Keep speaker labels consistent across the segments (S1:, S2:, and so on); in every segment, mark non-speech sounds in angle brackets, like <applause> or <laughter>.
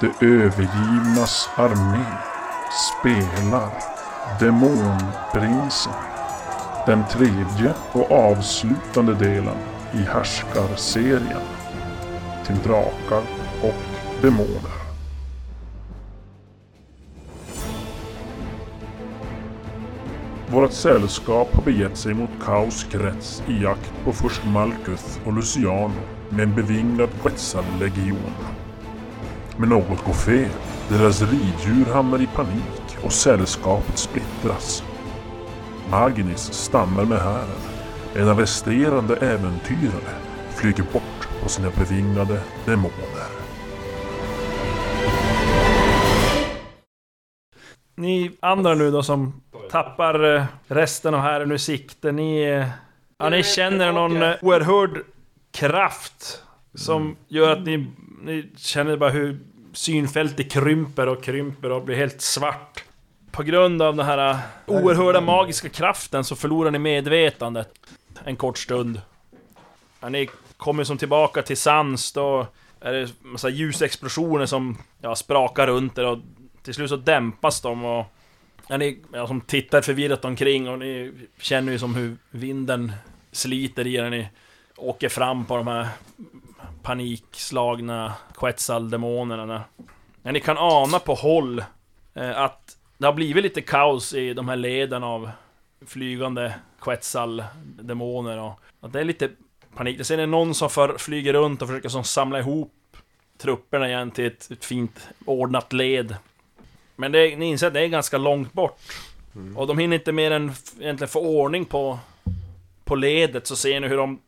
S1: De övergivnas armé spelar Demonprinsen. Den tredje och avslutande delen i Härskarserien. Till drakar och demoner. Vårt sällskap har begett sig mot Kaos krets i jakt på först Malkuth och Luciano med en bevinglad legion. Men något går fel. Deras riddjur hamnar i panik och sällskapet splittras. Magnus stammar med hären. En arresterande äventyrare flyger bort på sina bevingade demoner.
S2: Ni andra nu då som tappar eh, resten av hären ur sikte, ni... eh, Ja, ni känner någon eh, oerhörd kraft som gör att ni, ni känner bara hur synfältet krymper och krymper och blir helt svart. På grund av den här eh, oerhörda magiska kraften så förlorar ni medvetandet en kort stund. När ni kommer som tillbaka till sans då är det massa ljusexplosioner som ja, sprakar runt er och till slut så dämpas de och när ni ja, som tittar förvirrat omkring och ni känner ju som hur vinden sliter i er när ni åker fram på de här panikslagna Quetzal-demonerna. När- När ni kan ana på håll eh, att det har blivit lite kaos i de här leden av flygande Quetzal-demoner och att det är lite panik. Sen är det någon som för, flyger runt och försöker som samla ihop trupperna igen till ett, ett fint ordnat led. Men det, är- ni inser att det är ganska långt bort. Och de hinner inte mer än f- egentligen få ordning på, på ledet så ser ni hur de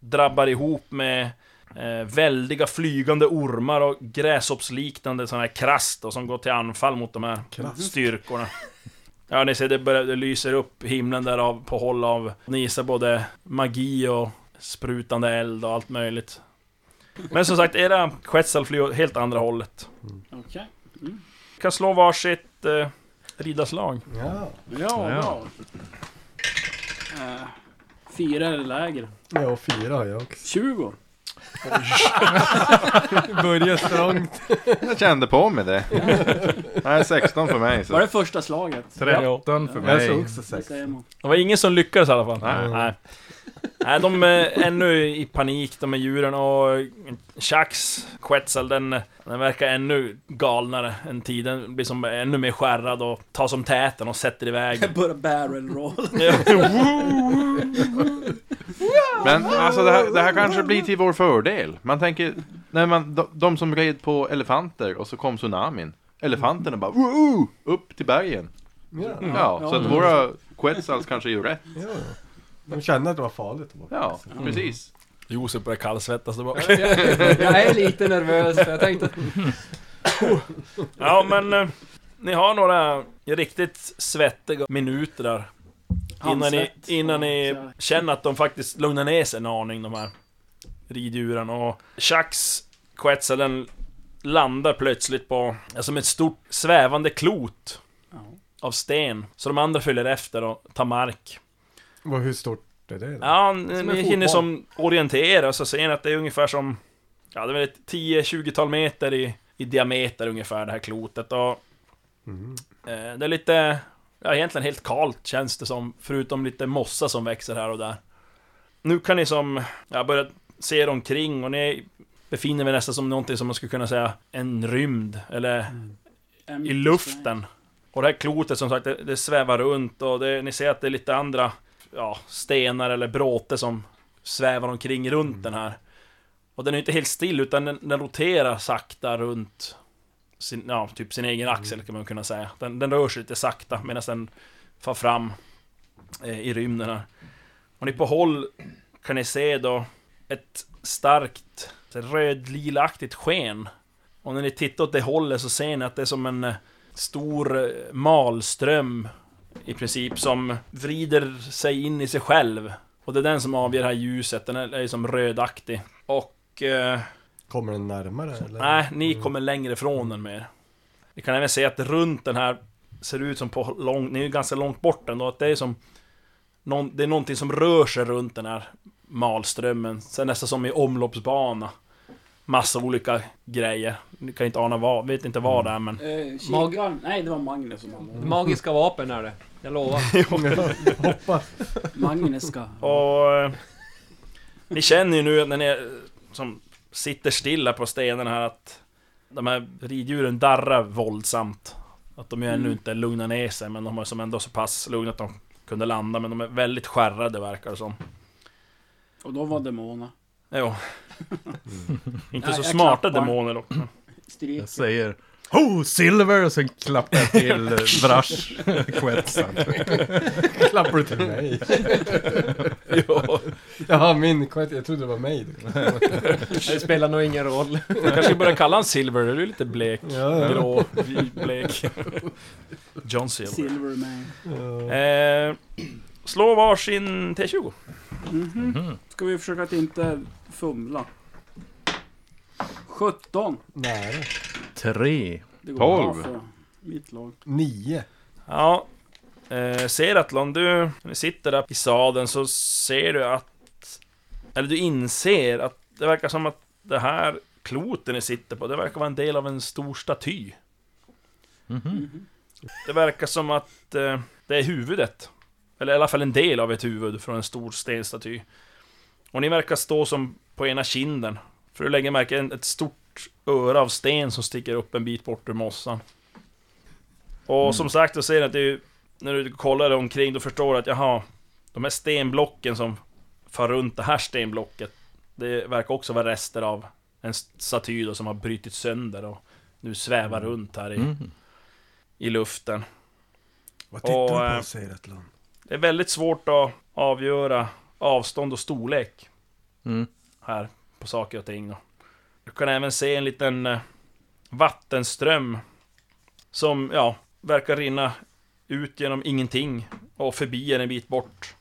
S2: drabbar ihop med eh, väldiga flygande ormar och gräshoppsliknande sådana här krast då, som går till anfall mot de här styrkorna. Ja, ni ser det, börjar, det lyser upp himlen där av, på håll av... Ni gissar både magi och sprutande eld och allt möjligt. Men som sagt, era sketsel flyr åt helt andra hållet.
S3: Mm. Okej.
S2: Ni kan slå varsitt eh, riddarslag.
S4: Ja.
S3: Ja,
S5: Ja.
S3: bra. Eh, fyra eller lägre.
S4: Ja, fyra har jag också.
S3: 20.
S4: Börjar strångt.
S5: Jag kände på mig det. Nej, 16 för mig.
S3: Var
S5: Så.
S3: det första slaget?
S5: 13 för
S4: Jag såg
S5: mig.
S4: också
S3: Det
S4: sex.
S3: säger man.
S2: Det var ingen som lyckades i alla fall.
S5: Nej.
S2: Nej. Nej, de är ännu i panik, de är djuren och Chax, Quetzal, den, den verkar ännu galnare än tiden. Den Blir som ännu mer skärrad och tar som täten och sätter
S6: <laughs>
S2: iväg.
S3: <laughs> Jag börjar barrel roll.
S5: Men alltså det här, det här kanske blir till vår fördel. Man tänker, när man, de, de som red på elefanter och så kom tsunamin. Elefanterna bara woo, upp till bergen.
S4: Ja.
S5: Ja, så att våra quetzals kanske gör rätt.
S4: ja. De kände att det var farligt. att vara.
S5: Ja, precis.
S2: <laughs> Josef börjar kallsvettas där bak.
S6: Jag är lite nervös för jag tänkte att
S2: Ja, men eh, ni har några riktigt svettiga minuter där. Innan ni,
S3: Handsvett.
S2: innan ni
S3: Ja, så-
S2: känner att de faktiskt lugnar ner sig en aning, de här riddjuren. Och Chax Quetzalen landar plötsligt på, ja, som ett stort svävande klot
S3: Ja.
S2: av sten. Så de andra följer efter och tar mark.
S4: Vad, hur stort är det? Då?
S2: Ja, ni
S6: en
S2: ni
S6: fotboll.
S2: hinner som orientera så ser ni att det är ungefär som, ja det är väl ett 10-20-tal meter i, i diameter ungefär det här klotet. Och
S4: Mm.
S2: Eh, Det är lite, ja egentligen helt kalt känns det som, förutom lite mossa som växer här och där. Nu kan ni som, ja börja se er omkring och ni befinner er nästan som någonting som man skulle kunna säga en rymd, eller i luften. Och det här klotet som sagt, det, det svävar runt och det, ni ser att det är lite andra ja, stenar eller bråte som svävar omkring runt den här. Och den är inte helt still utan den, den roterar sakta runt sin, ja, typ sin egen axel kan man kunna säga. Den, den rör sig lite sakta medan den far fram eh, i rymden här. Och ni på håll kan ni se då ett starkt så här röd-lilaktigt sken. Och när ni tittar åt det hållet så ser ni att det är som en eh, stor eh, malström i princip som vrider sig in i sig själv. Och det är den som avger det här ljuset, den är är liksom rödaktig. Och... Eh,
S4: Kommer den närmare eller? <laughs>
S2: Nej, ni kommer längre ifrån den mer. Ni kan även se att runt den här ser ut som på långt, ni är ju ganska långt bort ändå, att det är som... Någon, det är någonting som rör sig runt den här malströmmen, så nästan som i omloppsbana. massa olika grejer. Ni kan inte ana vad, vet inte vad det är men...
S3: Eh, Kikaren? Nej, det var Magnus som handlade.
S7: <laughs>
S6: Magiska vapen är det. Jag lovar.
S4: Hoppas.
S3: Magnus ska...
S2: Och... eh, Ni känner ju nu när ni eh, som sitter stilla på stenen här att de här riddjuren darrar våldsamt. Att de ju ännu
S3: Mm.
S2: inte lugnar ner sig men de har som ändå så pass lugna att de kunde landa men de är väldigt skärrade verkar det som.
S3: Och då var demoner.
S2: Jo. <laughs> inte
S3: Ja,
S2: så
S3: jag
S2: smarta
S3: klappar.
S2: demoner dock. men-
S3: Stryk.
S7: Jag säger Ho, silver! Och sen klappar jag till eh,
S5: <laughs>
S7: Brash Quetzal.
S4: Klappar du
S2: <laughs>
S4: till mig?
S2: Jo.
S4: Jaha, min kvart. Jag trodde det var mig.
S6: Det spelar nog ingen roll.
S2: <laughs> Jag kanske börjar kalla han Silver, du är lite blek.
S4: Ja, ja.
S2: Grå, vit, blek. John Silver.
S3: Silverman.
S2: Eh, slå varsin T20.
S3: Mhm.
S7: Mhm.
S3: Ska vi försöka att inte fumla? 17.
S4: Nära.
S7: Tre.
S3: Det går bra
S5: Tolv.
S3: för mitt lag.
S4: Nio.
S2: Ja. Eh, Seratlon, du, när du sitter där i sadeln så ser du att... Eller du inser att det verkar som att det här kloten ni sitter på, det verkar vara en del av en stor staty.
S7: Mhm.
S2: Det verkar som att eh, det är huvudet. Eller i alla fall en del av ett huvud från en stor stenstaty. Och ni verkar stå som på ena kinden. För du lägger märke till ett stort öra av sten som sticker upp en bit bort ur mossan. Och som sagt, du ser att det är, ju- när du kollar dig omkring, då förstår du att jaha, de här stenblocken som far runt det här stenblocket, det verkar också vara rester av en staty då, som har brutits sönder och nu svävar runt här i,
S7: Mhm.
S2: i luften.
S4: Vad
S2: tittar Och, du på, eh,
S4: säger Atlan?
S2: Det är väldigt svårt att avgöra avstånd och storlek
S7: Mm.
S2: här på saker och ting. då. Du kan även se en liten eh, vattenström som, ja, verkar rinna ut genom ingenting och förbi en en bit bort.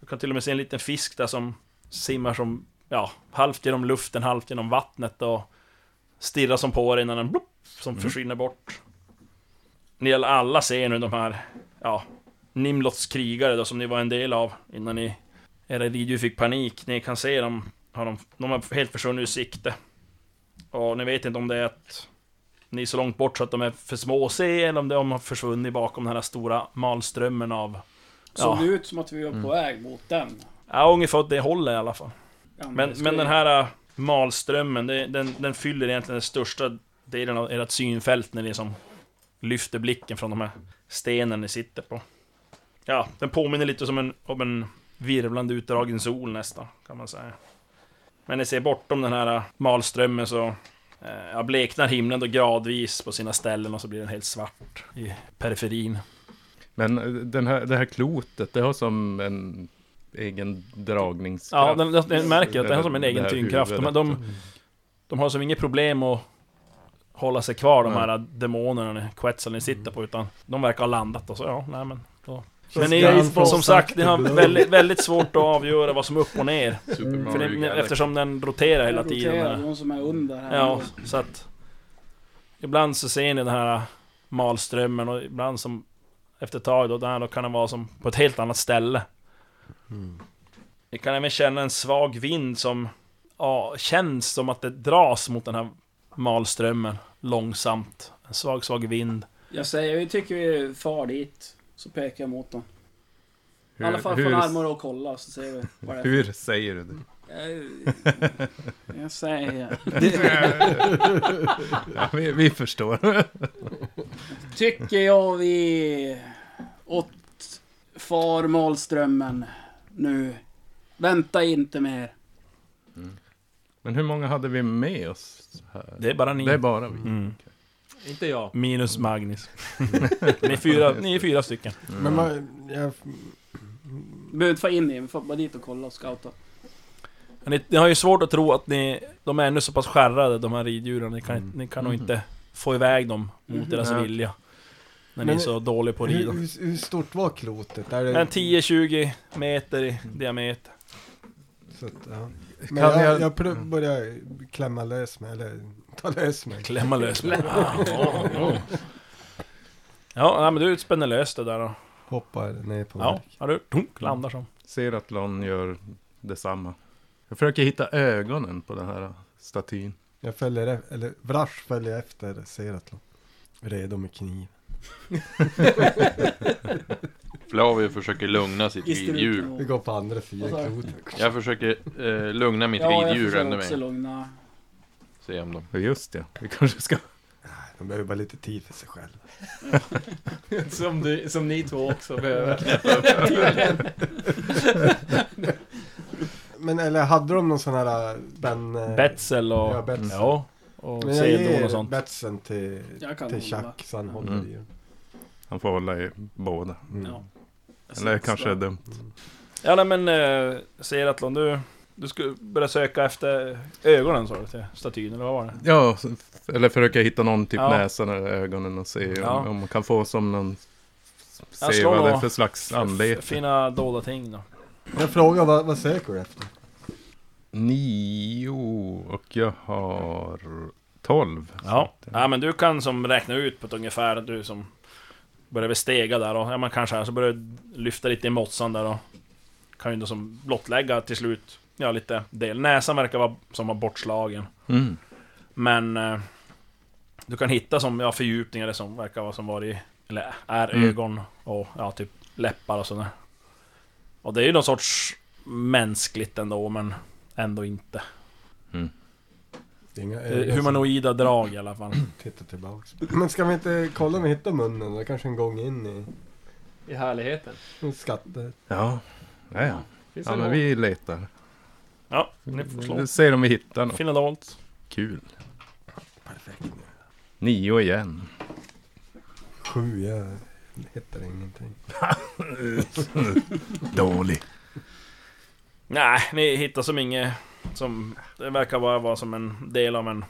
S2: Du kan till och med se en liten fisk där som simmar som, ja, halvt genom luften, halvt genom vattnet och stirrar som på dig innan den blopp, som försvinner bort. Ni alla ser nu de här, ja, Nimlots krigare då, som ni var en del av innan ni era riddjur fick panik. Ni kan se dem, har de, de har helt försvunnit ur sikte. Och ni vet inte om det är att ni är så långt bort så att de är för små att se, eller om de har försvunnit bakom den här stora malströmmen av...
S3: Såg
S2: Ja,
S3: det ut som att vi var på
S7: Mm.
S3: väg mot den?
S2: ja ungefär åt det hållet i alla fall.
S3: Ja,
S2: Men,
S3: det ska
S2: men
S3: ju-
S2: den här äh, malströmmen, det, den, den fyller egentligen den största delen av ert synfält när ni som lyfter blicken från de här stenen ni sitter på. Ja, den påminner lite som en, om en virvlande utdragen sol nästan, kan man säga. Men ni ser bortom den här äh, malströmmen så eh, ja, bleknar himlen då gradvis på sina ställen och så blir den helt svart i periferin.
S7: Men eh, den här, det här klotet, det har som en egen dragningskraft.
S2: Ja, den, den, den märker att den har som en
S7: Det här
S2: egen tyngdkraft. De,
S7: huvudet. Mm.
S2: de, de har som inget problem att hålla sig kvar, de
S7: Nej.
S2: här demonerna, quetzalen ni sitter på, utan de verkar ha landat och så, ja, nej men... Då. Men
S4: ska
S2: ni,
S4: han få
S2: som sagt, ni har
S4: sakta blod.
S2: väldigt, väldigt svårt att avgöra vad som är upp och ner.
S5: Super
S2: För
S5: Mario
S2: ni, ni,
S5: Galaxy.
S2: eftersom den roterar hela
S3: Jag
S2: tiden.
S3: roterar,
S2: här.
S3: De som är under här.
S2: Ja, så att... Ibland så ser ni den här malströmmen och ibland som... Efter ett tag då, där då kan den vara som på ett helt annat ställe.
S6: Mm.
S2: Ni kan även känna en svag vind som... Ja, känns som att det dras mot den här malströmmen långsamt. En svag, svag vind.
S3: Jag säger, vi tycker vi far dit. Så pekar jag mot dem. I alla fall
S7: hur,
S3: från armar och kolla, så ser vi vad det är.
S7: hur säger du det?
S3: Jag, Eh, jag säger...
S7: Ja, vi, vi förstår. <laughs>
S3: Tycker jag vi åt far Malströmmen nu. Vänta inte mer.
S7: Men hur många hade vi med oss? Här?
S2: Det är bara ni.
S7: Det är bara vi.
S2: Mm.
S6: Inte jag.
S2: Minus
S7: <laughs>
S2: Magnus. ni, är fyra, ni är fyra stycken.
S4: Men man, jag,
S3: Vi behöver inte få in i, vi får bara dit och kolla och scouta.
S2: Men Ni, ni har ju svårt att tro att ni, de är ännu så pass skärrade de här riddjuren, ni kan, inte- ni kan nog
S7: Mm.
S2: inte få iväg dem mot deras
S7: Nej.
S2: vilja. När ni
S4: Men-
S2: är så dåliga på att
S4: hur,
S2: rida.
S4: hur, hur stort var klotet? Är det,
S2: En 10-20 meter i diameter.
S4: så att, ja.
S7: Kan
S4: Men jag, jag,
S7: jag-
S4: pr- börjar klämma lös mig, eller ta lös mig.
S2: Klämma lös mig. Ah, ja, ja. Ja, nej, men du spänner lös det där då.
S4: Hoppar ner på
S2: Ja,
S4: marken.
S2: ja du tunk, landar som.
S7: Ser att Lon gör detsamma. Jag försöker hitta ögonen på den här statyn.
S4: Jag följer efter, eller Vrash följer efter Seratlon. Redo med kniv.
S5: Flavio försöker lugna sitt
S3: I strupen
S5: riddjur.
S4: Vi går på andra sidan
S3: Vad sa du?
S4: klotet.
S5: Jag försöker eh, lugna mitt
S3: Ja, jag
S5: riddjur
S3: försöker
S5: ännu
S3: också
S5: mer.
S3: lugna.
S5: Se om de...
S7: Ja, Just det, vi kanske ska...
S4: De behöver bara lite tid för sig själva.
S6: <laughs> Som, du, som ni två också behöver.
S4: <laughs> Men eller hade de någon sån här äh, Ben... äh,
S2: Betsel och...
S4: Ja, Betsel.
S2: Ja, och
S4: Men jag
S2: Sedon och
S4: ger
S2: sånt.
S4: Betsen till,
S3: Jag kan
S4: till
S3: hålla.
S4: Chuck så han håller
S7: Mm.
S4: i den.
S7: Han får hålla i båda.
S4: Mm.
S3: Ja.
S7: Eller kanske är dumt.
S2: Ja, nej, men eh, Seratlon, du, du skulle börja söka efter ögonen sa du till statyn, eller vad var det?
S7: Ja, s- eller försöka hitta någon typ
S2: Ja.
S7: näsan eller ögonen och se om,
S2: Ja.
S7: om man kan få som någon...
S2: Jag
S7: Se
S2: slår
S7: vad det är
S2: då.
S7: för slags
S2: F-
S7: anlete.
S2: Fina dolda ting då.
S4: Jag frågar vad, vad söker du efter?
S7: Nio och jag har tolv.
S2: Ja. ja, men du kan som räkna ut på ett ungefär, du som börjar väl stega där och ja, man kanske här så börjar du lyfta lite i mossan där och kan ju då som blottlägga till slut, ja lite del. Näsan verkar vara som var bortslagen.
S7: Mm.
S2: Men eh, du kan hitta som, ja, fördjupningar det som verkar vara som var i, eller är
S7: Mm.
S2: ögon och ja, typ läppar och sådär. Och det är ju någon sorts mänskligt ändå, men ändå inte.
S4: Det är inga
S2: Det är
S4: ögon som
S2: humanoida drag i alla fall.
S4: Tittar tillbaks. Men ska vi inte kolla om vi hittar munnen? Det är kanske en gång in i
S6: I härligheten.
S4: i skatter.
S7: Ja. Ja, ja.
S6: Finns
S7: ja men
S6: det någon?
S7: vi letar.
S2: Ja, ni får slå.
S7: Vi ser om vi hittar något.
S2: Finna dolt.
S7: Kul.
S4: Perfekt.
S7: Nio igen.
S4: Sju, jag hittar ingenting.
S7: Dålig.
S2: Nej, ni hittar som inget som... Det verkar bara vara som en del av en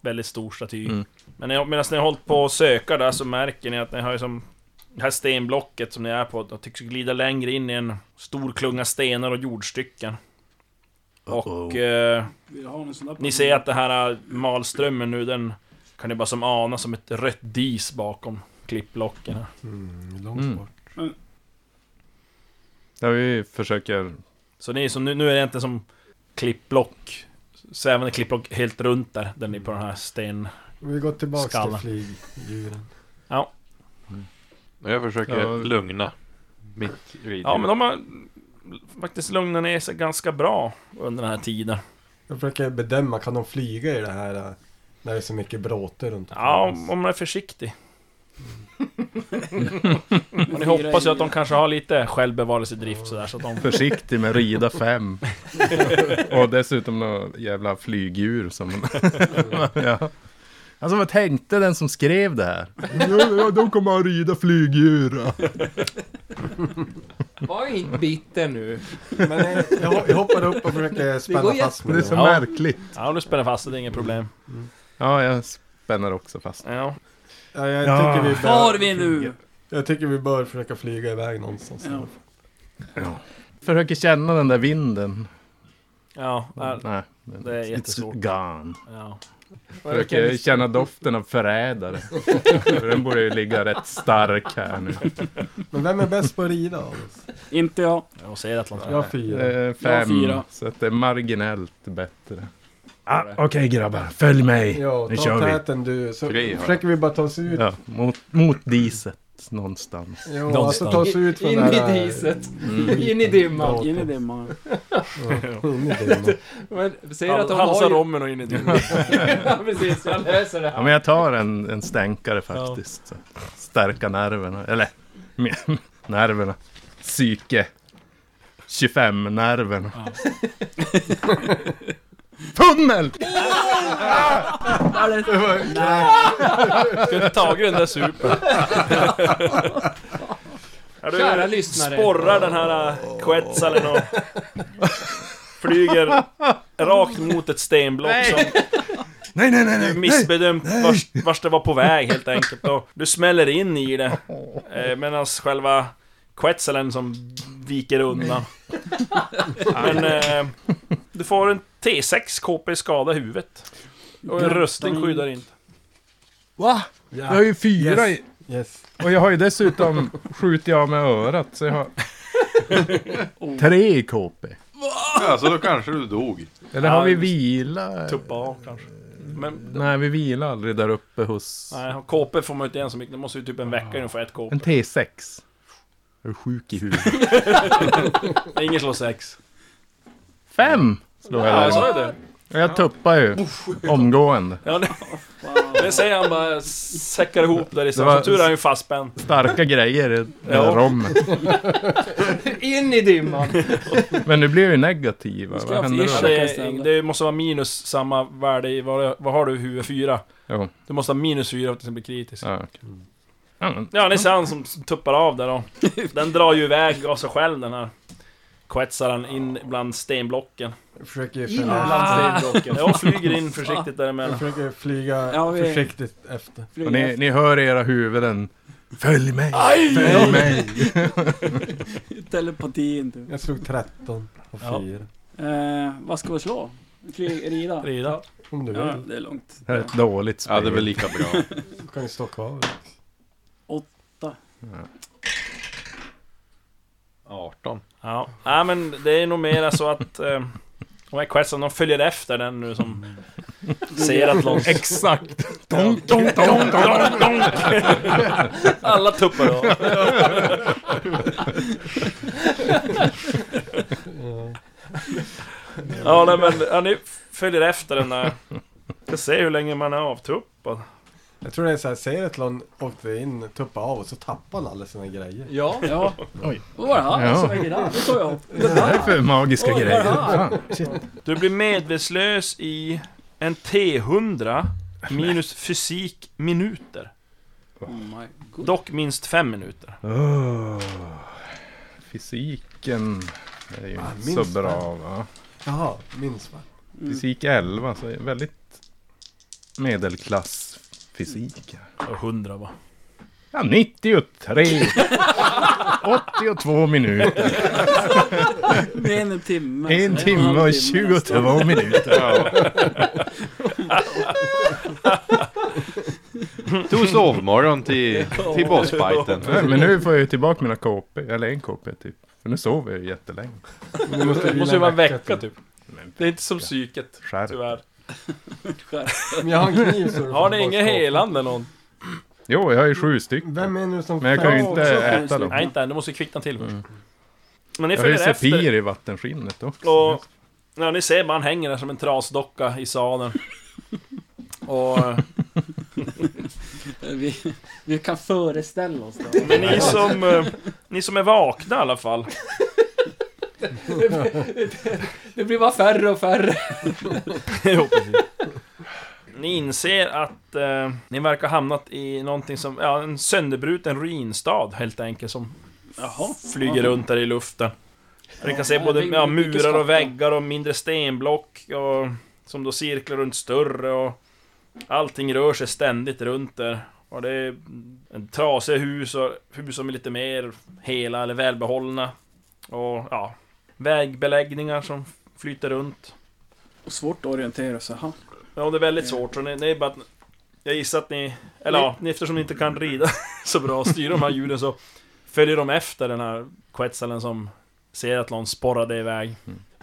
S2: väldigt stor staty.
S7: Mm.
S2: Men ni- medan ni har hållit på och söka där så märker ni att ni har ju som... Det här stenblocket som ni är på, de tycks glida längre in i en stor klunga stenar och jordstycken. Och... Eh,
S3: Vill ha någon sån där
S2: ni ser att det här eh, malströmmen nu, den kan ni bara som ana som ett rött dis bakom klippblocken. här.
S4: Mm, långt
S7: Mm.
S4: bort.
S7: Ja, vi försöker...
S2: Så ni är som, nu, nu är det inte som klippblock, svävande klippblock helt runt där, där ni på den här sten...
S4: Vi går tillbaks
S2: Skallen.
S4: till flygdjuren.
S5: Och jag försöker
S7: Ja.
S5: lugna mitt riddjur.
S2: Ja, men de har faktiskt lugnat ner sig ganska bra under den här tiden.
S4: Jag försöker bedöma, kan de flyga i det här äh, när det är så mycket bråte runt
S2: Ja,
S4: oss?
S2: om om man är
S6: <laughs>
S2: försiktig.
S3: Men
S2: Och ni hoppas ju att de kanske har lite självbevarelsedrift sådär, så att de...
S7: Försiktig med rida fem. och dessutom några jävla flygdjur
S2: <laughs>
S7: som... ja. Alltså vad tänkte den som skrev det här? ja, ja, de kommer att rida flygdjur.
S6: Var inte bitter nu.
S4: Men jag, jag, hop- jag hoppar upp och försöker spänna
S6: går
S4: fast
S7: Det är
S4: mig.
S7: så
S2: Ja.
S7: märkligt.
S2: Ja, du spänner fast det, det är inget problem.
S7: Ja, jag spänner också fast.
S2: Ja.
S4: Ja, jag,
S7: Ja.
S4: tycker vi
S3: Far
S4: bör,
S3: vi nu!
S4: jag tycker vi bör försöka flyga iväg någonstans.
S3: Ja.
S7: Försöker känna den där vinden.
S2: Ja, ja,
S7: Nej,
S2: det är jättesvårt.
S7: It's gone.
S2: ja.
S7: Försöker känna doften av förrädare.
S2: <laughs>
S7: För den borde ju ligga rätt stark här nu.
S4: Men vem är bäst på att rida av oss?
S3: Inte jag.
S2: Jag ser att
S4: Jag har fyra.
S7: Eh,
S3: Jag har
S7: Fem,
S3: fyra.
S7: så att det är marginellt bättre. Ah, Okej grabbar, följ mig.
S4: Ja,
S7: nu
S4: ta
S7: kör vi.
S4: täten du. Så
S5: Tre har jag.
S4: försöker vi bara ta oss ut.
S7: Ja, mot, mot diset någonstans.
S4: Jo,
S2: Någonstans.
S4: alltså ta oss ut från
S6: In
S4: det här... Mm.
S6: i diset. In i dimman.
S3: In i dimman.
S4: Ja, in i dimman.
S6: Men säger att de
S2: Halsa
S6: har ju...
S2: rommen och in i din.
S6: ja, precis. Jag löser det
S7: Ja,
S6: här.
S7: men jag tar en, en stänkare faktiskt. Så att stärka nerverna. Eller, <laughs> nerverna. Psyke. 25-nerverna. <laughs> Tunnel!
S2: Ska inte tagit den där supen. Ja, du
S6: Kära lyssnare.
S2: Sporrar den här äh, quetzalen och flyger rakt mot ett stenblock som
S7: Nej, nej, nej, nej!
S2: du missbedömt vars, vars det var på väg helt enkelt. Och du smäller in i det. Eh, Medan själva quetzalen som viker undan. Men eh, du får en T6 KP skada i huvudet. Och en rustning skyddar inte.
S7: Va? Jag har ju fyra i...
S4: Yes.
S7: Och jag har ju <laughs> dessutom skjutit av med örat, så jag har... Tre i KP.
S5: Ja, så då kanske du dog.
S7: Eller
S2: Ja,
S7: har vi
S2: just-
S7: vila?
S2: Tuppa av kanske. Men
S7: Nej, vi vilar aldrig där uppe hos...
S2: nej, och KP får man ju inte igen så mycket. Det måste ju typ en vecka innan få ett KP.
S7: En T6. Är du sjuk i huvudet?
S2: Ingen slår sex.
S7: <laughs> Fem! Slår
S2: Ja, jag
S7: jag där.
S2: sa ju det.
S7: Och jag tuppar ju. Omgående.
S2: Ja, det, <laughs> det säger han bara säckar ihop där i
S7: var-
S2: Som tur är han ju fastspänd.
S7: Starka grejer i <laughs> det
S2: Ja.
S7: där rommet.
S3: In i dimman!
S7: Men nu blir jag ju negativ. va? Vad händer
S2: Ja,
S3: försöka-
S7: då?
S2: det,
S3: istället.
S2: det måste vara minus samma värde i... Vad, vad har du i huvudet? Fyra?
S7: Jo.
S2: Du måste ha minus fyra för att det ska bli kritiskt.
S7: Ja, okej. Ja, men-
S2: Ja, ni ser han som som tuppar av där då. Den drar ju iväg av sig själv den här. Quetzaren in bland stenblocken.
S4: Jag försöker
S3: In
S4: flyga,
S3: bland stenblocken.
S2: Jag flyger in försiktigt däremellan.
S4: jag försöker flyga
S3: Ja, vi-
S4: försiktigt efter.
S3: Flyg
S7: och ni,
S3: efter.
S7: ni hör i era huvuden. Följ mig! Följ mig!
S3: Telepatin typ. du.
S4: Jag slog 13 och
S2: Ja.
S4: 4.
S3: Eh, vad ska vi slå? Flyg, rida?
S2: Frida.
S4: Om du vill.
S3: Ja, det är långt.
S7: Det här är ett dåligt spel.
S5: Ja, det är väl lika bra.
S4: Du kan ju stå kvar.
S5: 18.
S2: Ja, ja men det är nog mera så att eh, de här questsen, de följer efter den nu som ser att Lons...
S7: <laughs> Exakt! Donk, donk, donk, donk, donk.
S2: <laughs> Alla tuppar då. Ja, nej, men ja, ni följer efter den där. Ska se hur länge man är avtuppad.
S4: Jag tror det är såhär, Seratlon åkte in, tuppade av och så tappade han alla sina grejer.
S6: Ja.
S3: Ja.
S7: Oj.
S3: Vad var det här
S7: Ja.
S3: som vägde där? Det såg jag.
S7: Det här är för magiska
S3: Oj, vad
S7: grejer.
S3: är det här?
S7: Fan, shit.
S2: Du blir medvetslös i en T100 minus fysik minuter.
S3: Oh my god.
S2: Dock minst fem minuter.
S7: Åh, fysiken är ju
S4: Ah,
S7: inte
S4: minst
S7: så bra va?
S4: Jaha, minns man.
S3: Mm.
S7: Fysik 11, så är det väldigt medelklassfysik.
S2: Och 100 va?
S7: Ja, 93! 82 minuter.
S3: Med en timme.
S7: En timme och 22 minuter.
S5: Tog sovmorgon till, till bossfighten.
S7: Nej, men nu får jag ju tillbaka mina KP, eller en KP typ. För nu sover jag ju jättelänge.
S4: Du måste,
S2: Det
S4: vila
S2: måste ju vara en vecka typ.
S7: Men
S2: Det är inte som psyket,
S7: skärp.
S2: tyvärr.
S4: Men jag har en kniv så du
S2: Har ni
S4: får
S2: ingen
S4: bara stå.
S2: helande någon?
S7: Jo, jag har ju sju stycken.
S4: Vem är nu som
S7: Men jag kan ju
S4: fem?
S7: inte äta dem.
S2: Nej, inte än. Du måste kvickna till först.
S7: Mm.
S2: Men ni
S7: Jag har ju
S2: följer efter.
S7: Sepir i vattenskinnet också.
S2: Och... Ja, ni ser bara han hänger där som en trasdocka i sadeln. Och... eh,
S3: Vi, vi kan föreställa oss det.
S2: Men ni som... eh, Ni som är vakna i alla fall.
S3: Det blir bara färre och färre.
S2: jo, precis. Ni inser att eh, ni verkar ha hamnat i någonting som, ja, en sönderbruten ruinstad helt enkelt som
S3: Jaha.
S2: flyger runt där i luften. Ni kan se
S3: Ja,
S2: både
S3: det är
S2: ja,
S3: mycket
S2: murar
S3: svarta.
S2: och väggar och mindre stenblock och, som då cirklar runt större och allting rör sig ständigt runt där. Och det är en trasiga hus och hus som är lite mer hela eller välbehållna. Och ja, vägbeläggningar som flyter runt.
S3: Och svårt att orientera sig. Jaha.
S2: Ja, det är väldigt
S3: Ja.
S2: svårt. Så ni, ni är bara att, jag gissar att ni... Eller ja, ni, eftersom ni inte kan rida <laughs> så bra och styra de här hjulen så följer de efter den här quetzalen som ser att någon sporrade iväg.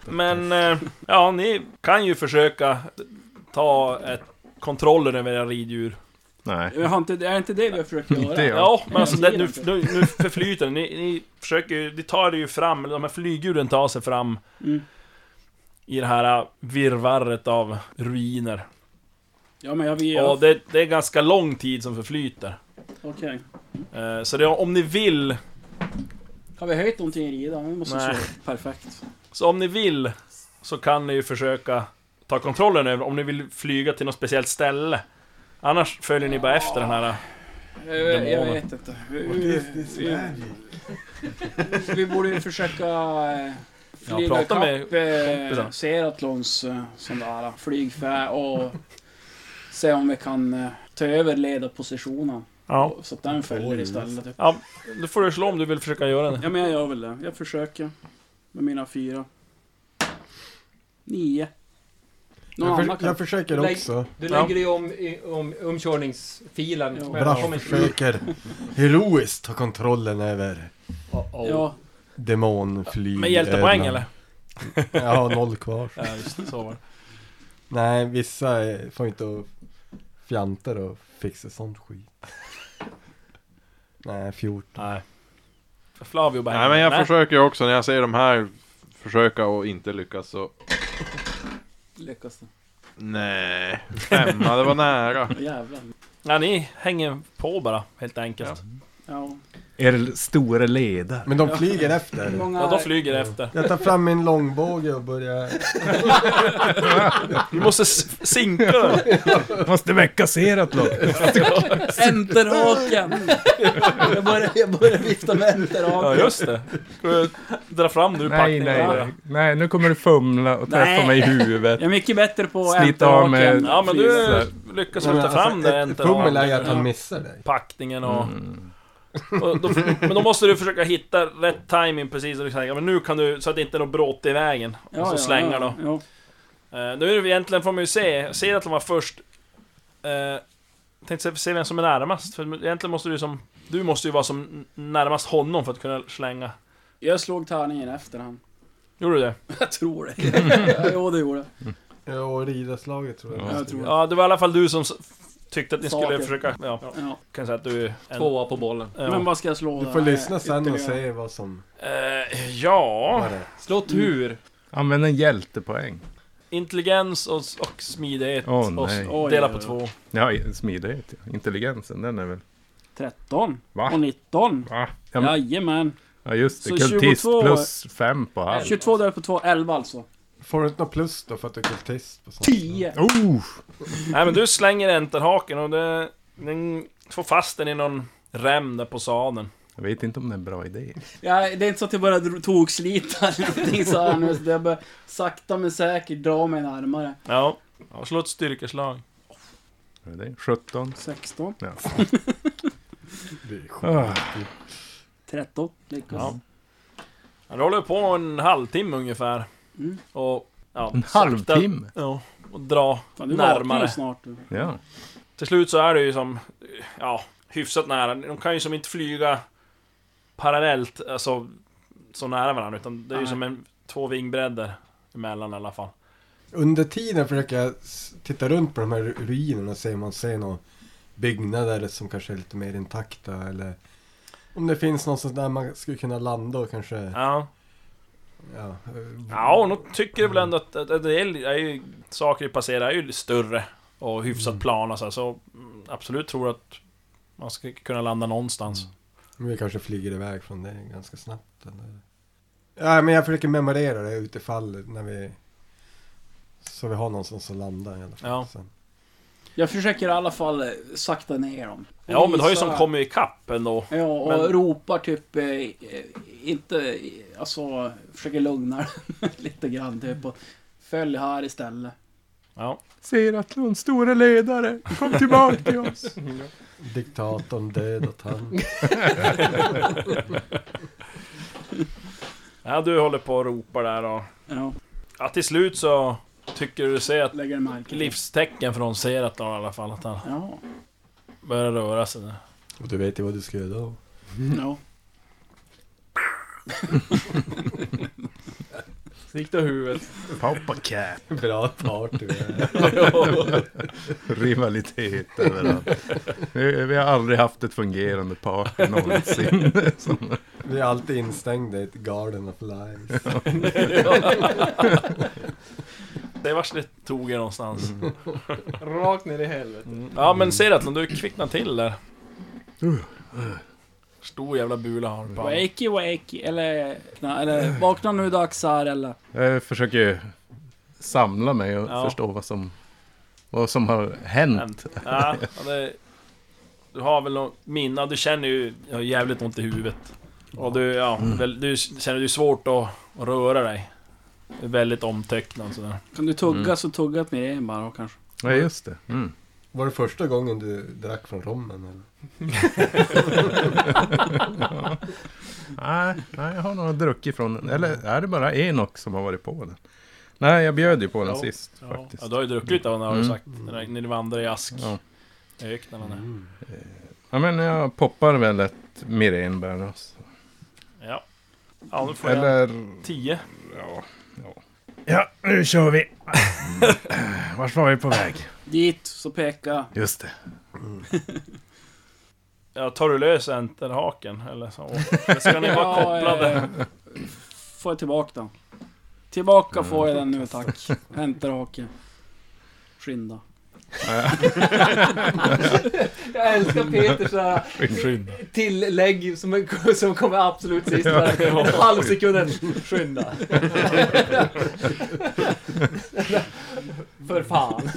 S2: Men eh, ja, ni kan ju försöka ta ett kontrollen över era riddjur.
S7: Nej.
S3: Jag har inte, är det inte det vi har försökt göra?
S7: Inte jag.
S2: Ja, men alltså det, nu, nu, nu förflyter det. Ni, ni försöker ju, ni tar det ju fram, eller de här flygdjuren tar sig fram
S3: Mm.
S2: i det här eh, virrvarret av ruiner.
S3: Ja, men jag vill...
S2: Och det, det är ganska lång tid som förflyter.
S3: Okej.
S2: Eh, Så det, om ni vill,
S3: Har vi höjt någonting i ridan? Vi måste
S2: Nej.
S3: slå. Perfekt.
S2: så om ni vill, så kan ni ju försöka ta kontrollen över om ni vill flyga till något speciellt ställe. Annars följer ni bara efter den här...
S3: Eh, Jag, jag
S2: Demoner.
S3: vet inte. Vi,
S4: Det-
S3: vi,
S4: det är
S3: vi,
S4: Sverige.
S3: vi borde ju försöka eh,
S2: Ja,
S3: flyga
S2: prata med
S3: ikapp eh,
S2: kompisar.
S3: Seratlons eh, sån där flygfä och se om vi kan eh, ta över ledarpositionen.
S2: Ja.
S3: Så att den följer istället. Typ.
S2: ja. Då får du slå om du vill försöka göra det.
S3: Ja, men jag gör väl det. Jag försöker. Med mina fyra. Nio. Någon
S4: Jag,
S3: annan
S4: förs-
S3: kan...
S4: jag försöker
S6: Nej.
S4: också.
S6: Du
S2: Ja.
S6: lägger dig om i om, omkörningsfilen.
S3: Ja.
S6: Men
S4: Bra
S6: kom inte-
S4: försöker heroiskt ta kontrollen över
S6: Oh, oh.
S3: Ja,
S4: demonflyg.
S2: Med hjältepoäng eller?
S4: Jag har noll kvar.
S2: Ja, just det, så var det.
S4: Nej, vissa eh, får inte att fjantar och fixa sånt skit. Nej, 14.
S2: Nej. Flavio bara
S5: Nej men jag försöker ju också när jag ser de här försöka och inte lyckas så...
S3: Lyckas det.
S5: Nej, femma, det var nära.
S3: Jävlar.
S2: Ja, ni hänger på bara, helt enkelt.
S3: Ja.
S7: Er store ledare.
S4: Men de flyger efter.
S2: Ja,
S3: Många...
S2: de flyger efter.
S4: Jag tar fram min långbåge och börjar...
S2: Vi måste s- sinka dem.
S7: Måste väcka serat något.
S3: Enterhaken! jag, börjar, jag börjar vifta med
S2: Ja,
S3: enterhaken.
S2: just det. Ska jag dra fram nu
S7: Nej,
S2: packningen?
S7: nej,
S2: Ja.
S7: nej. nej, nu kommer du fumla och träffa
S3: Nej.
S7: mig i huvudet.
S3: Jag är mycket bättre på
S7: Slita av
S3: enterhaken.
S7: med-
S2: Ja, men
S3: Precis.
S2: du lyckas väl ta fram det
S4: alltså, ett pummel är ju att han
S2: enterhaken.
S4: missar dig.
S2: Packningen och...
S6: Mm.
S2: <laughs> och då, men då måste du försöka hitta rätt timing precis som du säger. Men nu kan du, så att det inte är något bråte i vägen.
S3: Ja,
S2: och så
S3: ja,
S2: slänger
S3: ja,
S2: då.
S3: ja.
S2: Eh, nu är det egentligen, får man ju se, ser att de var först. Eh, jag tänkte se, se vem som är närmast, för egentligen måste du som... Du måste ju vara som n- närmast honom för att kunna slänga.
S3: Jag slog tärningen efter
S2: <laughs>
S3: han.
S2: Gjorde du det?
S3: Jag tror det. ja, jo, det gjorde jag.
S4: Ja, och ridarslaget tror jag.
S3: Ja, jag tror det.
S2: Ja, det var i alla fall du som s- tyckte att ni skulle
S3: Mm. Saker.
S2: försöka... Ja,
S3: Ja.
S2: kan säga att du... är en-
S6: Tvåa på bollen.
S2: Ja.
S3: Men vad ska jag slå?
S4: Du får
S3: eh,
S4: lyssna sen och
S3: ytterligare?
S4: se vad som
S2: Eh, ja... Mm.
S4: var rätt.
S6: Slå tur.
S7: Använd en hjältepoäng.
S2: Intelligens och, och smidighet.
S7: Åh,
S2: och
S7: nej.
S2: s- dela
S3: Oj,
S2: på
S3: oj,
S2: två.
S7: Ja, i- smidighet. ja. Intelligensen, den är väl...
S3: 13
S7: Va?
S3: och 19.
S7: Va? Ja, men-
S3: Jajamän.
S7: ja just det.
S3: Så
S7: Kultist
S3: 22
S7: plus fem på halv.
S3: 22 delat på 2, 11 alltså.
S4: Får du inte något plus då för att du är kultist? På sånt?
S3: 10!
S7: Oh!
S2: Nej men du slänger enterhaken och det, den får fast den i någon rem där på sadeln.
S7: Jag vet inte om det är en bra idé.
S3: Ja, det är inte så att jag bara dro- tokslita eller någonting så här <laughs> nu. Så jag börjar sakta men säkert dra mig närmare.
S2: Ja. ja slå ett styrkeslag.
S7: Vad är det? 17?
S3: 16,
S7: Ja.
S4: Det är sjukt.
S7: Ah,
S3: 13, lyckas.
S2: Ja. Ja, det håller på en halvtimme ungefär.
S3: Mm.
S2: Och... Ja,
S7: En
S2: sakta-
S7: halvtimme?
S2: Ja. Och dra
S3: Fan, du vaknar ju
S2: närmare.
S3: snart. Du.
S7: Ja.
S2: Till slut så är det ju som... Ja, hyfsat nära. De kan ju som inte flyga parallellt, alltså så nära varandra. Utan det är ju
S3: Nej.
S2: som en, två vingbredder emellan i alla fall.
S4: Under tiden försöker jag s- titta runt på de här ru- ruinerna och se om man ser några byggnader som kanske är lite mer intakta eller om det finns någonstans där man skulle kunna landa och kanske...
S2: Ja.
S4: Ja, eh,
S2: Ja, och nog tycker jag väl ändå att, att, att det är, är ju, saker i Passera är ju större och hyfsat plana så, här, så mm, absolut tror jag att man ska kunna landa någonstans.
S4: Men vi kanske flyger iväg från det ganska snabbt. Eller? Ja, men jag försöker memorera det utifall när vi... Så vi har någonstans att landa i alla fall.
S2: Ja.
S4: Sen.
S3: Jag försöker i alla fall eh, sakta ner dem. Och
S2: Ja, men det har ju
S3: visa-
S2: som kommit ikapp ändå.
S3: Ja, och
S2: men-
S3: ropar typ eh, eh, inte, eh, alltså försöker lugna dem <laughs> lite grann typ och följ här istället.
S2: Ja.
S7: Seratlund, store ledare, kom tillbaka till oss!
S4: Diktatorn dödat han.
S2: ja, du håller på och ropar där och...
S3: Ja,
S2: Ja, till slut så tycker du ser att
S3: lägger märke till.
S2: livstecken från Seratlon i alla fall, att han
S3: Ja,
S2: börjar röra sig där.
S4: Och du vet ju vad du ska göra då.
S3: ja.
S6: Sikta huvudet.
S7: Poppa cap.
S4: Bra party.
S7: Rivalitet överallt. Vi, vi har aldrig haft ett fungerande par någonsin. Som-
S4: Vi är alltid instängda i ett garden of lies.
S2: Det är vars det tog er någonstans.
S7: Mm.
S6: Rakt ner i helvete.
S2: Ja, men Seratlon, du kvicknar till där. Stor jävla bula har du på armen.
S3: Wakey wakey, eller, na, eller vakna nu dags här eller.
S7: Jag försöker ju samla mig och
S2: Ja.
S7: förstå vad som, vad som har hänt.
S2: hänt. Ja, ja, det, du har väl något minne, du känner ju jag har jävligt ont i huvudet. Och du, ja,
S7: Mm.
S2: väl, du känner det är svårt att, att röra dig. Du är väldigt omtöcknad sådär.
S3: Kan du tugga
S7: Mm.
S3: så tugga med en bara och kanske.
S7: Ja, just det. Mm.
S4: Var det första gången du drack från rommen eller?
S7: Nej, nej, jag har nog druckit från den. Eller är det bara Enoch som har varit på den? Nej, jag bjöd ju på den
S2: Ja,
S7: sist
S2: ja.
S7: faktiskt.
S2: Ja, du har ju druckit av den har du
S7: Mm.
S2: sagt. När när ni vandrar i ask.
S7: Ja.
S2: Öknarna där.
S7: Ja, men jag poppar väl ett Mirenbär. då.
S2: Ja. Ja, nu får jag
S7: Eller...
S2: 10.
S7: Ja, ja, Ja, nu kör <laughs> vi. Vart var vi på väg?
S3: Dit, så peka.
S7: Just det.
S2: Ja, tar du lös enterhaken eller
S3: <laughs>
S2: så? Ska ni vara
S3: Ja,
S2: kopplade?
S3: eh, Får jag tillbaka den? Tillbaka
S2: Mm.
S3: får jag den nu tack. Hämtar haken. Skynda.
S6: <laughs> Jag älskar Peters såhär
S7: Skynda.
S6: tillägg som, som kommer absolut sist. där. En halv sekund. Skynda. För fan.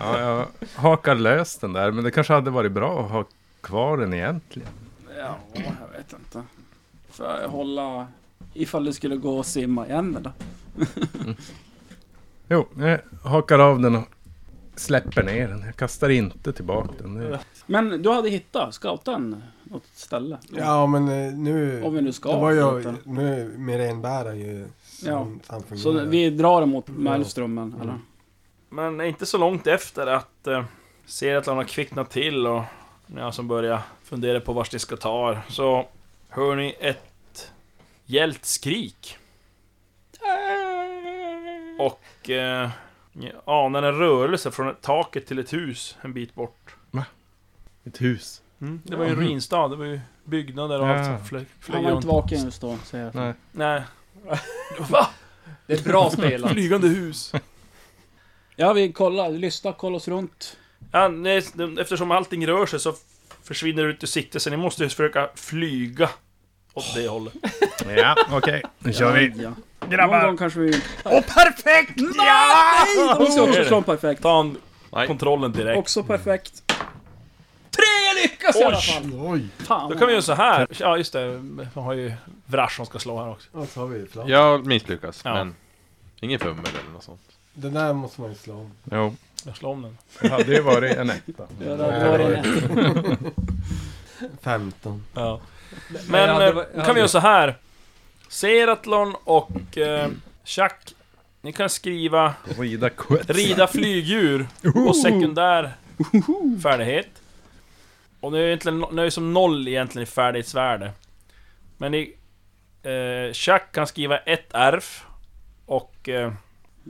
S7: Ja, jag hakar lös den där, men det kanske hade varit bra att ha kvar den egentligen.
S3: Ja, jag vet inte. Får jag hålla... Ifall det skulle gå att simma igen eller?
S7: Jo, jag hakar av den och släpper ner den. Jag kastar inte tillbaka den. Det-
S3: Men du hade hittat, scouten, något ställe?
S4: Ja, men eh, nu...
S3: Om vi nu ska
S4: det var
S3: scouta.
S4: ju, nu med renbära ju
S3: Ja.
S4: som han
S3: Så
S4: fungerar.
S3: vi drar mot Mälströmmen,
S2: Mm.
S3: eller?
S2: Men inte så långt efter att eh, ser att han har kvicknat till och när jag som börjar fundera på vart ni ska ta er, så hör ni ett hjält skrik. Och eh, ni anar en rörelse från ett- taket till ett hus en bit bort.
S7: Ett hus.
S2: Det var ju en
S7: Mhm.
S2: ruinstad, det var ju byggnader och allt
S7: Ja.
S2: som flög, flög
S3: Mm. Han var
S2: runt.
S3: inte vaken just då, säger jag.
S7: Nej.
S2: Nej, <laughs>
S6: Det är bra spelat.
S2: flygande hus.
S3: Ja, vi kollar, lyssnar, kollar oss runt.
S2: Ja, nej, eftersom allting rör sig så försvinner det ut ur sikte, så ni måste ju försöka flyga åt det hållet.
S7: Ja, okej. Nu kör vi.
S3: Ja. Någon gång
S7: Grabbar!
S3: kanske vi...
S7: Åh, perfekt! Ja!
S3: Också, också från perfekt.
S2: Ta en
S5: Nej.
S2: kontrollen direkt.
S3: Också perfekt. Tre lyckas i alla fall!
S4: Oj!
S3: Fan,
S2: Då kan vi göra så här. Ja, just det. Man har ju Vrash som ska slå här också.
S4: Ja, så har vi ju plan.
S5: Jag misslyckas,
S2: Ja.
S5: men ingen fummel eller något sånt.
S4: Den där måste man ju slå om.
S7: Jo,
S2: Jag slår om den.
S7: det hade ju varit en etta.
S3: Ja, det var det.
S4: 15.
S2: Ja. Men
S6: Men jag hade-
S2: eh,
S6: jag
S2: då kan
S6: hade-
S2: vi göra så här. Seratlon och eh, Chuck, ni kan skriva
S7: Rida quetsa.
S2: rida flygdjur och sekundär färdighet. Och nu är egentligen, nu är det som noll egentligen i färdighetsvärde. Men ni... Eh, Chuck kan skriva ett ärf och... Eh,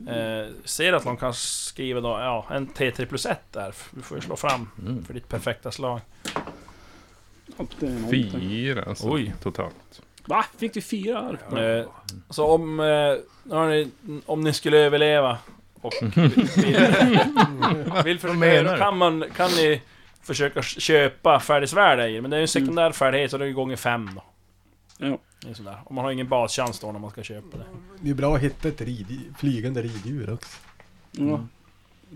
S2: eh, Seratlon kan skriva då, ja, en T3 plus 1 ärf. Du får ju slå fram
S7: Mm.
S2: för ditt perfekta slag.
S7: Fyra alltså,
S2: Oj.
S7: totalt.
S3: Va? Fick du fyra här?
S2: Eh, så om, eh, har ni, om ni skulle överleva
S7: <laughs>
S2: och vill, vill försöka,
S7: menar
S2: då
S7: du?
S2: kan, man, kan ni försöka sh- köpa färdighetsvärde i det, men det är ju en
S7: Mm.
S2: sekundär färdighet så det är ju gånger fem då.
S3: Ja.
S2: Det är sådär. Och man har ingen baschans då när man ska köpa det.
S4: Det är bra att hitta ett rid, flygande riddjur också.
S3: Ja.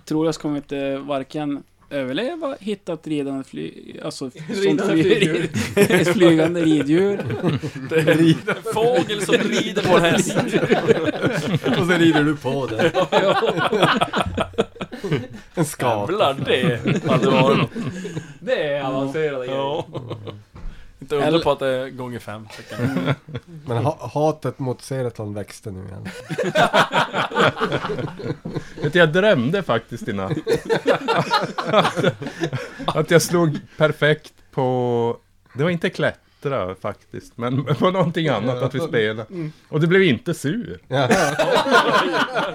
S3: Tror jag kommer vi inte varken överleva, hitta ett ridande fly...
S6: <laughs>
S3: Alltså, sånt
S6: Ridande
S3: fly... <laughs> ett flygande riddjur.
S2: En fågel som rider på en häst.
S4: <laughs> Och så rider du på
S3: <laughs>
S4: det. En skap.
S2: Jävlar, det hade varit något.
S6: Det är alltså. avancerade grejer.
S2: Ja. Inte undra på att det är gånger fem. säkert.
S4: Men ha, hatet mot Seratlon växte nu igen.
S7: Vet du, jag drömde faktiskt i natt. att jag slog perfekt på... Det var inte klättra faktiskt, men på någonting annat att vi
S6: Mm.
S7: spelade. Och det blev inte sur.
S4: Ja.
S7: Det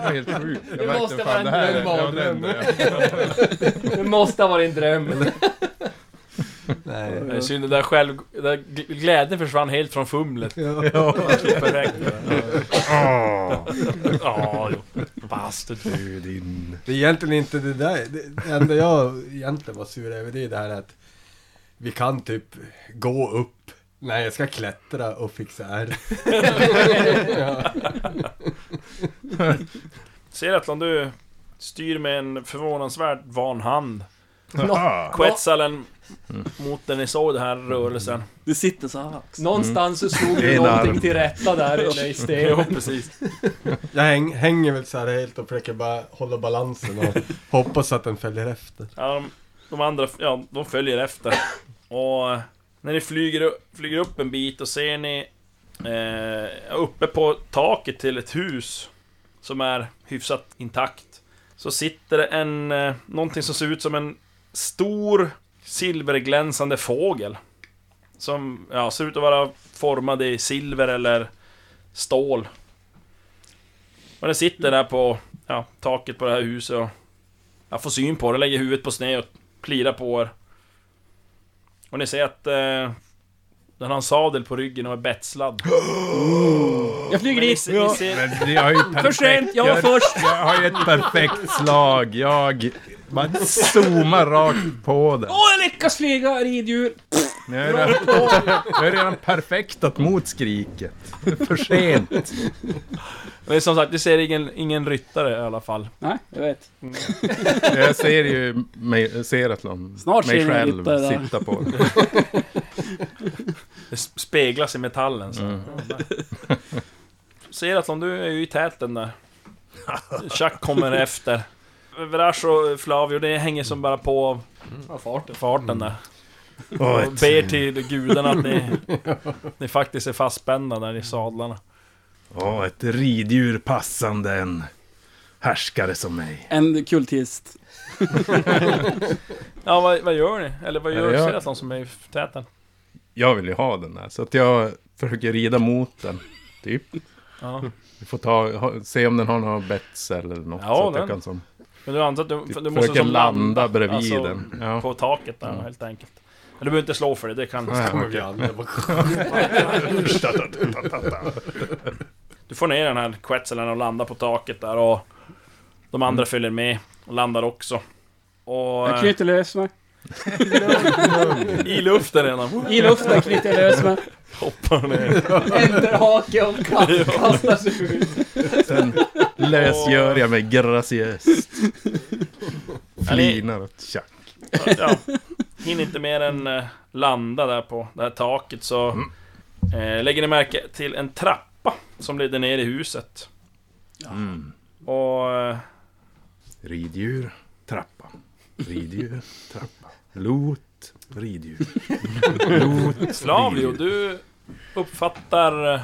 S7: var helt sjukt. Jag
S6: Det
S7: märkte,
S6: måste
S7: fan,
S6: vara
S7: det här
S6: en
S7: är- ja,
S6: dröm.
S7: det är-
S6: Det måste ha varit en dröm.
S4: <laughs> Nej.
S2: Det är synd, det där själv... det Där gl- glädjen försvann helt från <laughs> fumlet.
S4: Ja.
S2: Perfekt.
S7: Åh,
S2: Ja, jo. Bastard.
S7: du din...
S4: Det är egentligen inte det där. Det enda jag egentligen var sur över det är det här att vi kan typ gå upp. Nej, jag ska klättra och fixa är. ja.
S2: Seratlon, du styr med en förvånansvärd van hand.
S7: Jaha.
S2: Quetzalen mot den ni såg den här rörelsen.
S3: Det sitter så här.
S6: Mm. Någonstans så slog
S7: Det är
S6: du
S7: en
S6: någonting
S7: arm.
S6: till rätta där inne i stenen.
S2: precis.
S4: Jag häng, hänger väl så här helt och försöker bara hålla balansen och hoppas att den följer efter.
S2: Ja, de, de andra, ja, de följer efter. Och eh, när ni flyger, upp- flyger upp en bit och ser ni eh, uppe på taket till ett hus som är hyfsat intakt. Så sitter det en, eh, någonting som ser ut som en stor silverglänsande fågel. Som ja, ser ut att vara formad i silver eller stål. Och Och den sitter där på ja, taket på det här huset och jag får syn på det, lägger huvudet på sned och klirar på er. Och ni ser att eh, den har en sadel på ryggen och är bettslad.
S6: Jag flyger
S2: Men ni,
S6: dit!
S2: ser- ni ser,
S7: Men det har ju
S6: För
S7: perfekt,
S6: sent, jag var
S7: jag-
S6: först!
S7: jag har ju ett perfekt slag. Jag bara zoomar rakt på den.
S6: Åh, jag lyckas flyga riddjur!
S7: Jag är redan, <laughs> jag är redan perfektat mot skriket. För sent.
S2: men som sagt, ni ser ingen, ingen ryttare i alla fall.
S3: Nej, jag vet.
S7: Jag ser ju mig, Seratlon,
S3: Snart
S7: mig
S3: ser ni
S7: själv
S3: lite där.
S7: sitta på den.
S2: Det s- speglas i metallen så. <laughs> Ser att om du är ju i täten där. Chuck kommer efter. Vrash och Flavio, det hänger som bara på av farten. där.
S7: Mm.
S2: Och ber till gudarna att ni, ni faktiskt är fastspända där i sadlarna.
S7: Åh, ett riddjur passande en härskare som mig.
S3: En kultist.
S2: Ja, vad, vad gör ni? Eller vad gör
S7: Ja, jag-
S2: ser att någon som är i täten?
S7: Jag vill ju ha den här, så att jag försöker rida mot den. Typ.
S2: Ja.
S7: Vi får ta, ha, se om den har några bets eller något.
S2: Ja,
S7: så att
S2: den-
S7: jag kan som,
S2: Men du antar att du,
S7: typ,
S2: du måste
S7: försöka
S2: som
S7: landa bredvid
S2: alltså,
S7: den. Ja.
S2: På taket där
S7: Mm.
S2: helt enkelt. Men du behöver inte slå för det, det kan...
S7: Nej.
S4: Kommer vi
S7: Okej.
S4: andra bara
S2: Du får ner den här quetzalen och landar på taket där och de andra
S7: Mm.
S2: följer med och landar också. Och
S3: Jag knyter lös mig.
S2: eh, i luften redan
S6: I luften knyter jag lös mig.
S2: hoppar ner.
S6: Enterhake och kast, kastas ut.
S7: Sen lösgör jag
S2: <laughs>
S7: mig graciöst. Flinar åt tjack.
S2: Ja, hinner inte mer än eh, landa där på det här taket så
S7: Mm.
S2: eh, lägger ni märke till en trappa som leder ner i huset.
S7: Mm.
S2: Och eh,
S7: Riddjur, trappa. Riddjur, trappa. Lot, riddjur. Lot,
S2: Flavio,
S7: riddjur.
S2: du uppfattar eh,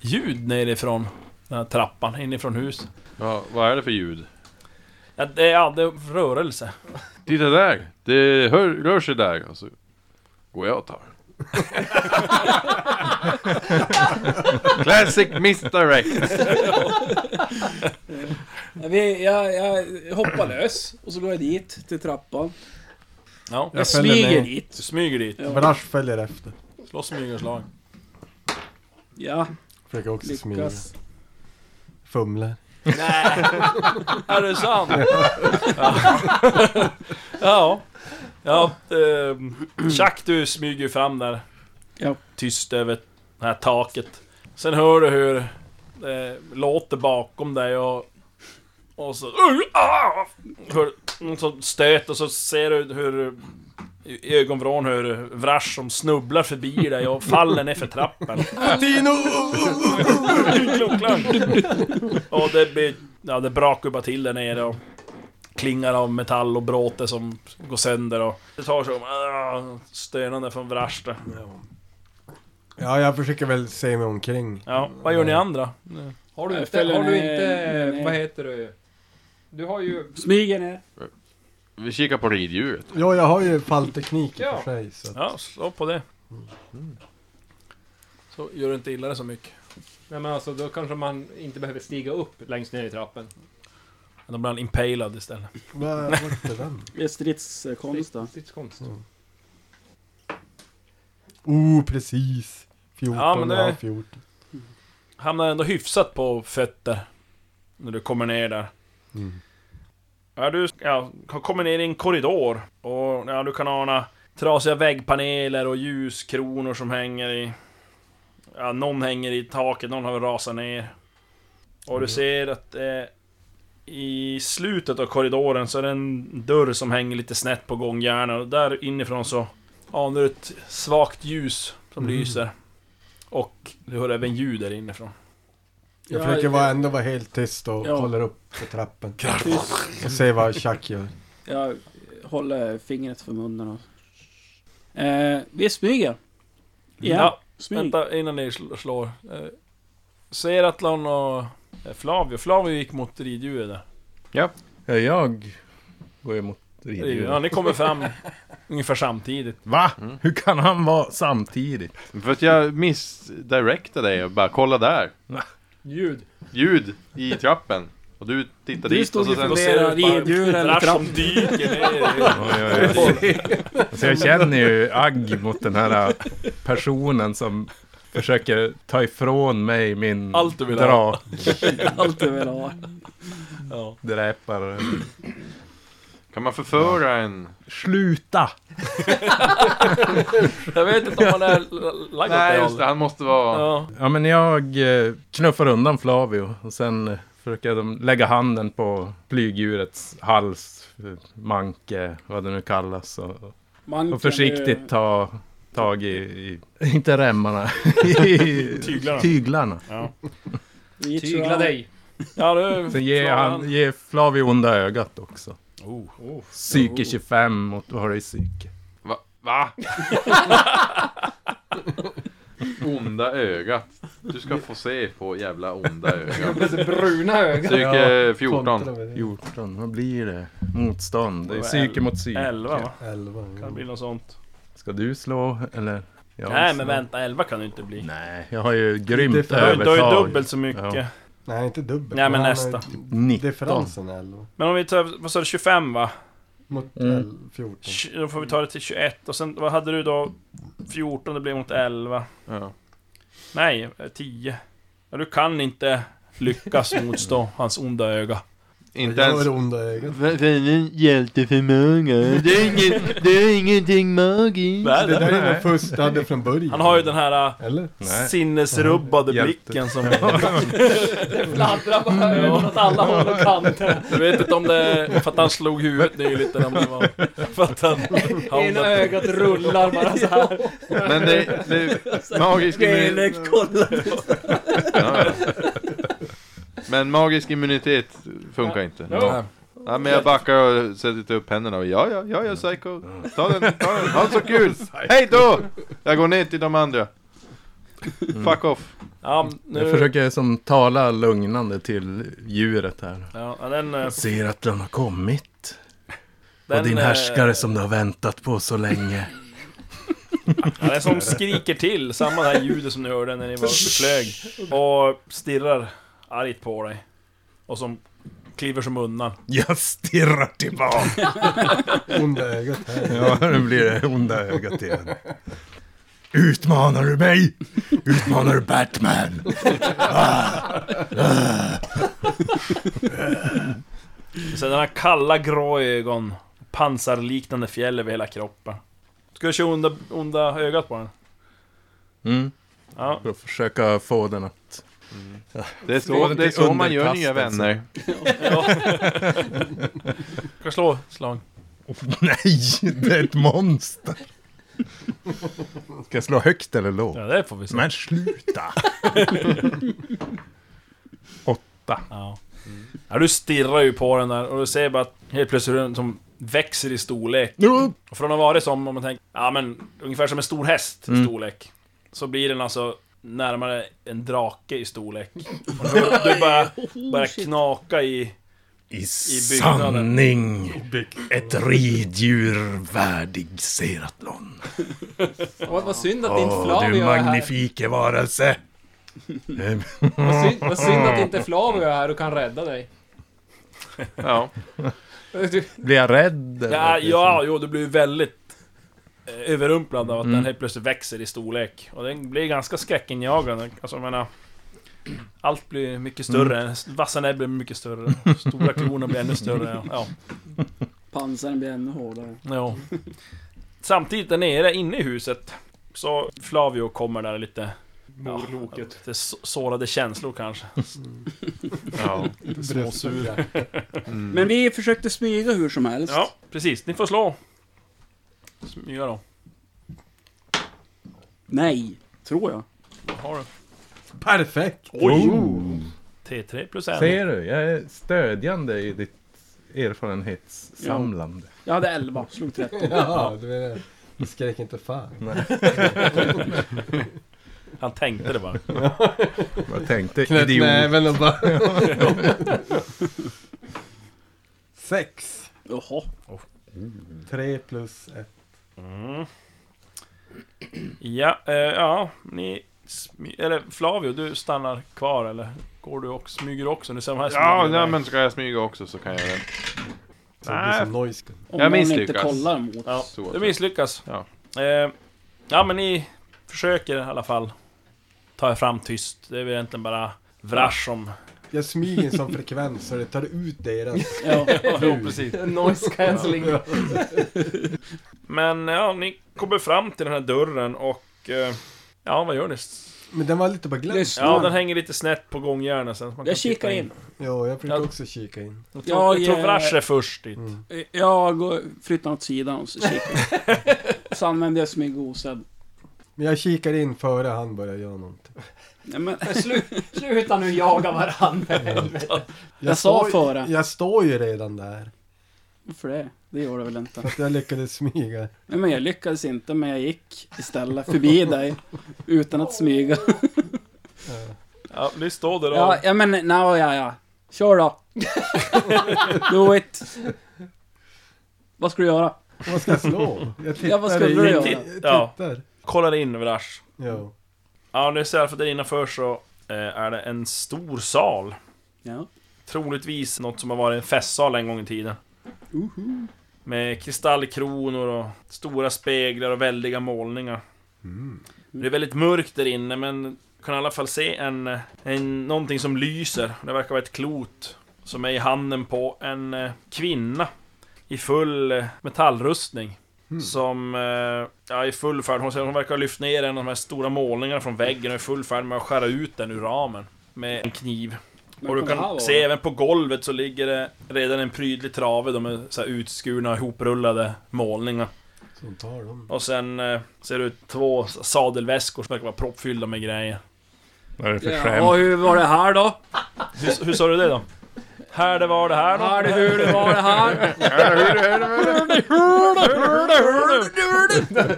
S2: ljud nerifrån den här trappan, inifrån huset.
S5: Ja, vad är det för ljud?
S2: Ja, det är aldrig rörelse.
S5: Titta där! Det hör, rör sig där. Och så går jag och tar. Classic misdirect!
S3: Jag, vet- jag, jag hoppar lös och så går jag dit till trappan.
S2: Ja,
S3: Jag,
S4: följer
S3: smyger
S4: med.
S2: du
S3: dit.
S2: smyger dit.
S4: Brash följer efter.
S2: Slå smygerslag.
S3: Ja,
S4: Försöker också smyga.
S3: lyckas.
S4: Fumlar.
S2: Nej, <laughs> är det sant? Ja. <laughs> ja. Ja, ehm, Chuck du smyger ju fram där.
S3: Ja.
S2: Tyst över det här taket. Sen hör du hur det låter bakom dig och... Och så... Ah! Hör någon som stöt och så ser du hur... I ögonvrån hur Vrash som snubblar förbi dig och faller ner för trappen. <laughs> Klockklang. Och det blir... Ja, det brakar bara till där nere och klingar av metall och bråte som går sönder och... Det tar som... ah, Stönande från Vrash där.
S4: Ja, jag försöker väl se mig omkring.
S2: Ja, vad gör ni andra?
S6: Har du
S3: Jag
S6: inte,
S3: följer
S6: har du
S3: med-
S6: inte,
S3: med-
S6: vad heter det? Du har ju...
S3: Smyger ner.
S5: Vi kikar på riddjuret.
S4: Ja, jag har ju fallteknik i och
S6: Ja.
S4: för sig. Så.
S2: Ja, slå på det. Så gör du inte illa det så mycket.
S6: Nej men alltså då kanske man inte behöver stiga upp längst ner i trappen.
S2: Men Då blir han impalad istället.
S4: Vad vart är den?
S3: Det är stridskonst då.
S6: Stridskonst.
S4: Oh, precis. 14,
S2: Ja,
S4: ja,
S2: men det-
S4: 14.
S2: Hamnar ändå hyfsat på fötter. När du kommer ner där.
S4: Mm.
S2: Ja, du ja, kommer ner i en korridor. Och ja, du kan ana trasiga väggpaneler och ljuskronor som hänger i... Ja, någon hänger i taket, någon har rasat ner. Och
S4: Mm.
S2: du ser att eh, i slutet av korridoren så är det en dörr som hänger lite snett på gångjärnen. Och där inifrån så anar du ett svagt ljus som
S4: Mm.
S2: lyser. Och du hör även ljud där inifrån.
S4: Jag
S3: Ja,
S4: försöker
S3: jag-
S4: vara, ändå vara helt tyst och
S3: Ja.
S4: kollar upp på trappen.
S3: Tyst.
S4: Och se vad Chuck gör.
S3: Jag håller fingret för munnen och... Eh, vi smyger. Ja,
S2: Ja,
S3: smyg.
S2: Vänta innan ni sl- slår. Eh, Seratlon och eh, Flavio. Flavio gick mot riddjuret där.
S7: Ja, jag går emot riddjuret.
S2: Ja, ni kommer fram <laughs> ungefär samtidigt.
S7: Va?
S5: Mm.
S7: Hur kan han vara samtidigt?
S5: För att jag missdirectade dig och bara kolla där.
S6: Ljud.
S5: ljud i trappen. Och du tittar
S3: Du
S5: dit och
S3: stod
S5: så
S3: ju
S5: sen...
S3: funderar
S2: Djur
S3: i
S2: eller
S3: eller
S2: som
S3: trapp.
S2: dyker ner.
S7: Oj, oj, oj. Alltså jag känner ju agg mot den här personen som försöker ta ifrån mig min
S2: Allt du vill ha.
S3: Allt du vill ha.
S2: Ja.
S7: drakdräpare.
S5: Kan man förföra en...
S7: Sluta!
S2: Jag vet inte om han är lagd åt
S5: Nej
S2: det
S5: just det,
S2: hållet.
S5: han måste vara...
S2: Ja.
S7: Ja men jag eh, knuffar undan Flavio och sen eh, försöker de lägga handen på flygdjurets hals, eh, manke, vad det nu kallas. Och,
S3: Man
S7: och
S3: kan
S7: försiktigt
S3: ju-
S7: ta tag i,
S2: <laughs>
S7: i inte remmarna, <laughs> i
S2: Tyglarna.
S7: tyglarna.
S3: vi tror
S6: Tygla
S3: att-
S6: dig.
S2: Ja, du...
S7: Sen ger,
S2: slår
S7: han, ger Flavio onda ögat också.
S2: Oh.
S7: Psyke 25 mot, vad har du i psyke?
S5: Va? Va? onda ögat. Du ska få se på jävla onda ögat. eh,
S6: Med så bruna ögon.
S5: Psyke 14.
S7: 14, vad blir det? Motstånd, det är
S2: Vad är
S7: psyke mot psyke.
S2: Elva va?
S4: 11.
S2: Kan det bli något sånt?
S7: Ska du slå eller? jag
S2: Nej
S7: slår?
S2: men vänta, elva kan det inte bli.
S7: Nej, jag har ju grymt
S4: Inte
S2: Du har ju-
S4: för-
S2: du har ju
S7: övertag.
S2: dubbelt så mycket.
S7: Ja.
S4: Nej, inte dubbelt.
S2: Nej, men
S4: han
S2: nästa.
S4: har ju
S7: 19.
S4: Differensen är 11.
S2: Men om vi tar, vad sa du, 25 va?
S4: Mot
S7: Mm.
S4: 11, 14.
S2: Tj- Då får vi ta det till 21 och sen, vad hade du då? 14, det blev mot 11.
S5: Ja.
S2: Nej, eh, 10. Ja, du kan inte
S6: <laughs>
S2: lyckas motstå hans onda öga.
S5: Inte
S4: Jag
S5: ens...
S4: har onda ögat.
S5: Vännen hjälteförmåga. Det är, inget, det är ingenting magiskt.
S2: Nej,
S4: Det där
S2: nej.
S4: är den första hade från början.
S2: Han har ju den här eh,
S4: Eller?
S7: Nej.
S2: sinnesrubbade
S7: Hjälte.
S2: blicken som...
S6: <laughs> Det fladdrar bara ögon åt alla håll och kanter.
S2: Jag vet inte om det är för att han slog huvudet nyligt eller om det var för att
S6: <laughs>
S2: han...
S6: Ena ögat rullar bara så här.
S5: Men det, det magisk immunitet.
S3: Mm.
S5: Men magisk immunitet funkar inte.
S6: Ja.
S5: Nej, men jag backar och sätter upp händerna och ja, ja, ja, ja, psycho. Ta den, ta den. <laughs> Ha så kul. Hej då! Jag går ner till de andra. Fuck off.
S2: Ja,
S7: Jag
S2: nu...
S7: försöker som tala lugnande till djuret här.
S2: Ja, den... eh,
S7: Jag ser att den har kommit.
S2: den
S7: och din
S2: eh,
S7: härskare som du har väntat på
S2: <laughs>
S7: så länge.
S2: Ja, det är som skriker till, samma här ljudet som ni hörde när ni var uppe och flög. Och stirrar argt på dig. Och som kliver som undan.
S7: Jag stirrar
S2: <laughs>
S7: tillbaka.
S4: Onda ögat här.
S7: Ja, nu blir det onda ögat igen. Utmanar du mig? Utmanar du Batman?
S2: Sen den här kalla grå ögon, pansarliknande fjäll över hela kroppen. Ska du köra onda, onda ögat på den?
S7: Mm.
S2: Ja.
S7: För att försöka få den att...
S5: Det är så,
S7: Slå den
S5: det är
S7: till
S5: så man gör nya
S7: underkastelse.
S5: vänner.
S2: ja. Ska slå ett slag?
S7: <laughs> Nej, det är ett monster. Ska jag slå högt eller lågt?
S2: Ja, det får vi se. <laughs>
S7: Men sluta! Åtta.
S2: Ja. ja, du stirrar ju på den där och du ser bara att helt plötsligt hur den som växer i storlek. Och från att ha varit som, om man tänker, ja men ungefär som en stor häst i
S7: Mm.
S2: storlek. Så blir den alltså närmare en drake i storlek. Och du, du börjar, börjar knaka i...
S7: I
S2: byggnaden.
S7: sanning ett riddjur värdig Seratlon.
S6: <laughs> Vad, vad synd att inte
S7: Åh, du
S6: Flavio är här.
S7: magnifike varelse!
S6: Vad synd, vad synd att inte Flavio är här och kan rädda dig.
S5: Ja.
S6: <laughs> Du,
S7: Blir jag rädd? eller?
S2: Ja, ja jo, du blir ju väldigt eh, överrumplad av att den helt plötsligt växer i storlek. Och den blir ganska skräckinjagande. Alltså jag menar... Allt blir mycket större, vassa näbb blir mycket större, stora klorna blir ännu större. Ja.
S3: Pansaren blir ännu hårdare.
S2: Ja. Samtidigt där nere inne i huset så Flavio kommer där lite... Morloket. Ja, lite så- sårade känslor
S5: <laughs>
S2: kanske.
S5: ja.
S4: Bröstar.
S7: Mm.
S3: Men vi försökte smyga hur som helst.
S2: Ja, precis. Ni får slå. Smyga då.
S3: Nej, tror jag.
S2: Vad har du?
S4: Perfekt!
S2: Oj! T3 plus en.
S7: Ser du? Jag är stödjande i ditt erfarenhetssamlande.
S3: Jag hade 11, slog 13.
S4: Ja, du är det. Skrek inte fan.
S2: Han tänkte det bara.
S7: Jag tänkte
S4: Knöt
S7: idiot.
S4: näven och bara... Sex.
S3: Jaha.
S4: Tre plus ett.
S2: Ja, eh, ja, ni Smi- Eller Flavio, du stannar kvar eller? Går du och smyger också? Nu ser de här
S5: Ja,
S2: smyger
S5: nej,
S2: iväg.
S5: men ska jag smyga också så kan jag det.
S4: Så det blir som
S2: Äh.
S4: noise.
S3: Om
S5: Jag
S3: någon inte
S5: misslyckas.
S3: kollar mot.
S2: Ja,
S5: Så
S2: det
S5: att-
S2: misslyckas.
S5: Ja.
S2: Eh, ja, men ni försöker i alla fall ta er fram tyst. Det är väl egentligen bara vrasch som...
S4: Jag smyger i en sån frekvens så det tar ut deras...
S3: Ja.
S2: Jo, precis.
S6: Noise cancelling.
S2: Men ja, ni kommer fram till den här dörren och... Eh, ja, vad gör ni?
S4: Men den var lite på glänt.
S3: Lyssna.
S2: Ja, den hänger lite snett på gångjärnen sen. så man kan
S3: <laughs> Jag kikar
S2: titta
S3: in.
S4: Ja, jag försökte
S2: Ja.
S4: också kika in.
S2: Jag tror, jag tror
S3: Jag, eh,
S2: vrasch är först dit.
S5: Mm.
S3: Jag går, flyttar åt sidan och så kikar
S2: <laughs>
S3: jag. Så använder jag smyg och osedd.
S4: Men jag kikar in före han börjar göra någonting.
S3: Nej, men,
S6: Sluta nu jaga varandra. helvete.
S3: Jag sa
S4: står ju-
S3: före.
S4: Jag står ju redan där.
S3: varför det? Det gör det väl inte?
S4: För att jag lyckades smyga.
S3: Nej, men jag lyckades inte, men jag gick istället förbi dig. Utan att smyga.
S2: Ja, ni står där och...
S3: Ja, ja men, no, ja, ja.
S2: <laughs>
S3: Kör då. Do it. Vad ska du göra?
S4: Vad ska jag slå? Jag tittar
S3: Ja, vad skulle du
S4: in.
S3: göra?
S4: Jag
S2: Ja.
S4: tittar.
S2: kollar in vrasch.
S4: Ja.
S2: Ja, nu ser jag för där innanför så eh, är det en stor sal.
S3: Ja.
S2: Troligtvis något som har varit en festsal en gång i tiden. Med kristallkronor och stora speglar och väldiga målningar. Det är väldigt mörkt där inne men du kan i alla fall se en, en, någonting som lyser. Det verkar vara ett klot som är i handen på en eh, kvinna i full eh, metallrustning. Som eh, ja, i full färd, hon, säger- hon verkar ha lyft ner en av de här stora målningarna från väggen och är i full färd med att skära ut den ur ramen med en kniv.
S3: Men
S2: Och du
S3: kom här
S2: kan
S3: var
S2: se
S3: det.
S2: även på golvet så ligger det redan en prydlig trave, de är så här utskurna, ihoprullade målningar.
S4: Så hon tar dem.
S2: Och sen eh, ser du två sadelväskor som verkar vara proppfyllda med grejer.
S7: Vad är det för
S3: Ja,
S7: skämt?
S3: och hur var det här då?
S2: Hur, hur sa du det då? Här det var det här då?
S3: Här, det, hur det var det här?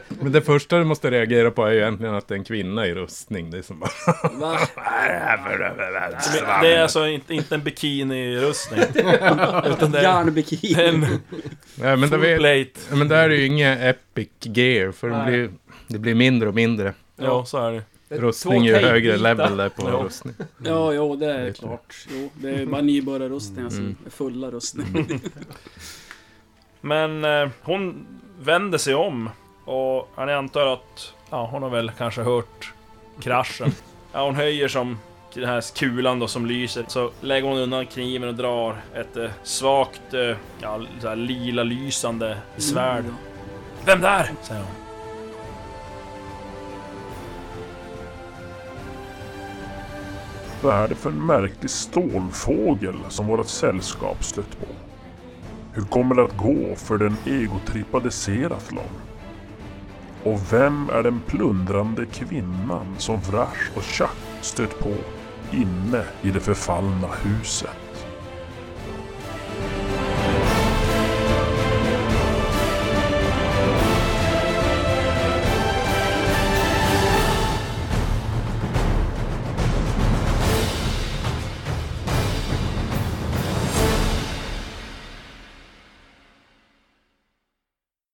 S7: Men det första du måste reagera på är ju egentligen att det är en kvinna i rustning. Det är som bara...
S3: Va?
S7: <laughs>
S2: Det är alltså inte, inte en bikini-rustning. <laughs> Utan det är
S3: Järnbikini. <laughs>
S2: en
S7: Nej, men, det
S2: full
S7: är,
S2: plate.
S7: men det här är ju inget epic gear, för det
S6: Nej.
S7: blir, det blir mindre och mindre.
S2: Ja, så är det.
S7: Rustning är ju
S6: Två
S7: högre
S6: tejpbitar.
S7: level där på
S2: Ja.
S7: rustning.
S3: Ja, jo, det är
S7: Vet du.
S3: klart. Mm. Jo, det är bara nybörjarrustningar som är fulla rustningar.
S2: Mm. Men eh, hon vänder sig om och han antar att ja, hon har väl kanske hört <laughs> kraschen. Ja, hon höjer som den här kulan då som lyser så lägger hon undan kniven och drar ett eh, svagt eh, ja, så här lila lysande svärd. Vem där? Mm. säger hon.
S1: Vad är det för en märklig stålfågel som vårt sällskap stött på? Hur kommer det att gå för den egotrippade Seraflon? Och vem är den plundrande kvinnan som Vrash och Chuck stött på inne i det förfallna huset?